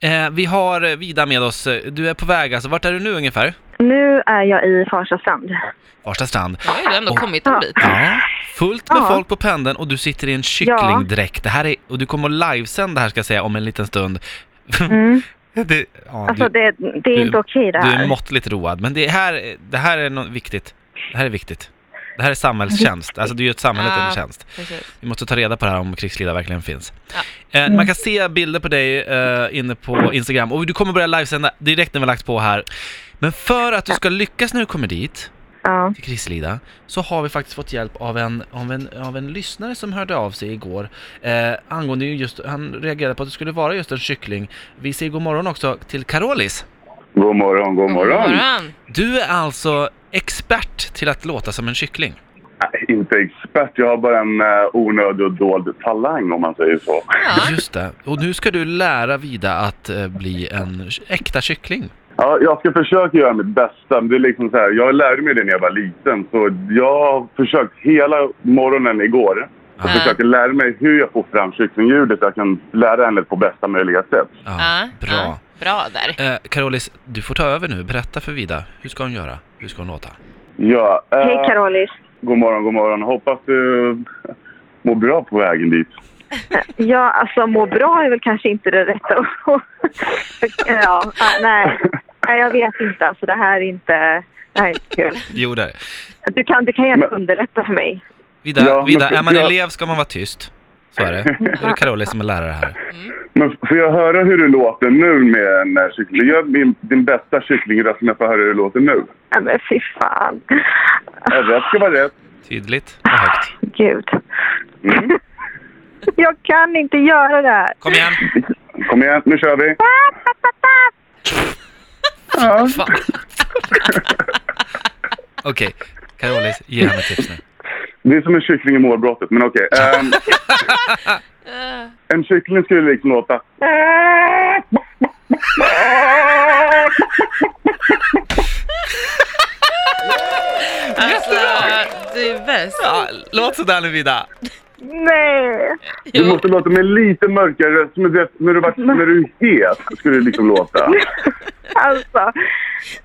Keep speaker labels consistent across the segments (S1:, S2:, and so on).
S1: Eh, vi har Vida med oss. Du är på väg alltså. Vart är du nu ungefär?
S2: Nu är jag i Farsta strand.
S1: Farsta strand.
S3: Jag har ju ändå
S1: Och-
S3: kommit en bit.
S1: Ja, fullt med
S2: Ja.
S1: folk på pendeln och du sitter i en kycklingdräkt. Det här är, och du kommer att livesända här ska jag säga om en liten stund.
S2: Mm.
S1: det, ja,
S2: Alltså
S1: du,
S2: det, det är
S1: du-
S2: inte okej det
S1: du är
S2: här.
S1: måttligt road, men det här, det här är något viktigt. Det här är viktigt. Det här är samhällstjänst, alltså du gör samhället en
S3: Ja.
S1: tjänst.
S3: Precis.
S1: Vi måste ta reda på det här om krigsledare verkligen finns. Eh, man kan se bilder på dig eh, inne på Instagram och du kommer börja livesända direkt när vi har lagt på här. Men för att du ska lyckas när du kommer dit,
S2: Ja.
S1: till Krislida så har vi faktiskt fått hjälp av en, av en, av en lyssnare som hörde av sig igår eh, angående ju just, han reagerade på att det skulle vara just en kyckling. Vi säger god morgon också till Carolis.
S4: God morgon, god morgon.
S3: God morgon.
S1: Du är alltså expert till att låta som en kyckling.
S4: Nej, inte expert, jag har bara en eh, onödig och dold talang om man säger så.
S3: Ja.
S1: Just det. Och nu ska du lära Vida att eh, bli en ky- äkta kyckling.
S4: Ja, jag ska försöka göra mitt bästa. Men det är liksom så här, jag lärde mig det när jag var liten, så jag har försökt hela morgonen igår. Jag
S3: Ja.
S4: försöker lära mig hur jag får fram kycklingljudet så jag kan lära henne på bästa möjliga sätt.
S1: Ja,
S3: Ja.
S1: bra.
S3: Ja. Bra där.
S1: Eh, Carolis, du får ta över nu. Berätta för Vida. Hur ska hon göra? Hur ska hon låta?
S4: Ja, eh,
S2: Hej Carolis.
S4: god morgon, god morgon. Hoppas du mår bra på vägen dit.
S2: Ja, alltså må bra är väl kanske inte det rätta ord. ja, ah, nej. nej, jag vet inte. Alltså det här är inte, det här är inte kul.
S1: Jo, där.
S2: Du kan, du kan gärna
S4: Men-
S2: underlätta för mig.
S1: Vida,
S4: Ja, men
S1: Vida,
S4: för-
S1: är man
S4: jag-
S1: elev ska man vara tyst. Så är det. Då är det Carolis som är lärare här.
S4: Men f- får jag höra hur du låter nu med en eh, kyckling? Gör min, din bästa kycklingröst om jag får höra hur du låter nu.
S2: Ja, men fy fan.
S4: Ja, Rätt Alltså, ska vara rätt.
S1: Tydligt och högt.
S2: Gud.
S4: Mm.
S2: Jag kan inte göra det här.
S1: Kom igen!
S4: Kom igen, nu kör vi. Ja.
S1: Okej, Carolis, ge henne tips nu.
S4: Det är som en kyckling i målbrottet, men okej. Ehm,
S3: Eh,
S4: en kyckling skulle liksom låta...
S3: Alltså, du är bäst.
S1: Ja, låt sådär nu Vida!
S2: Nej.
S4: Du
S3: Jo.
S4: måste låta med lite mörkare röst, men du vet, när du, var, när du är het skulle det liksom låta.
S2: Alltså,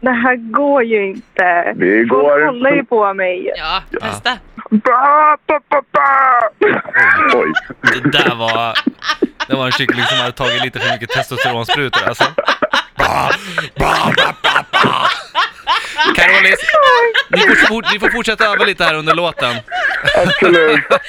S2: det här går ju inte.
S4: Det
S2: Folk
S4: går-
S2: håller ju på mig.
S3: Ja, testa.
S2: Ba, ba, ba, ba.
S4: Oj.
S1: Det där var... Det var en kyckling som hade tagit lite för mycket testosteronsprutor alltså. Ba, ba, ba, ba, ba. Carolis, ni får, fort- ni får fortsätta öva lite här under låten.
S4: Absolut.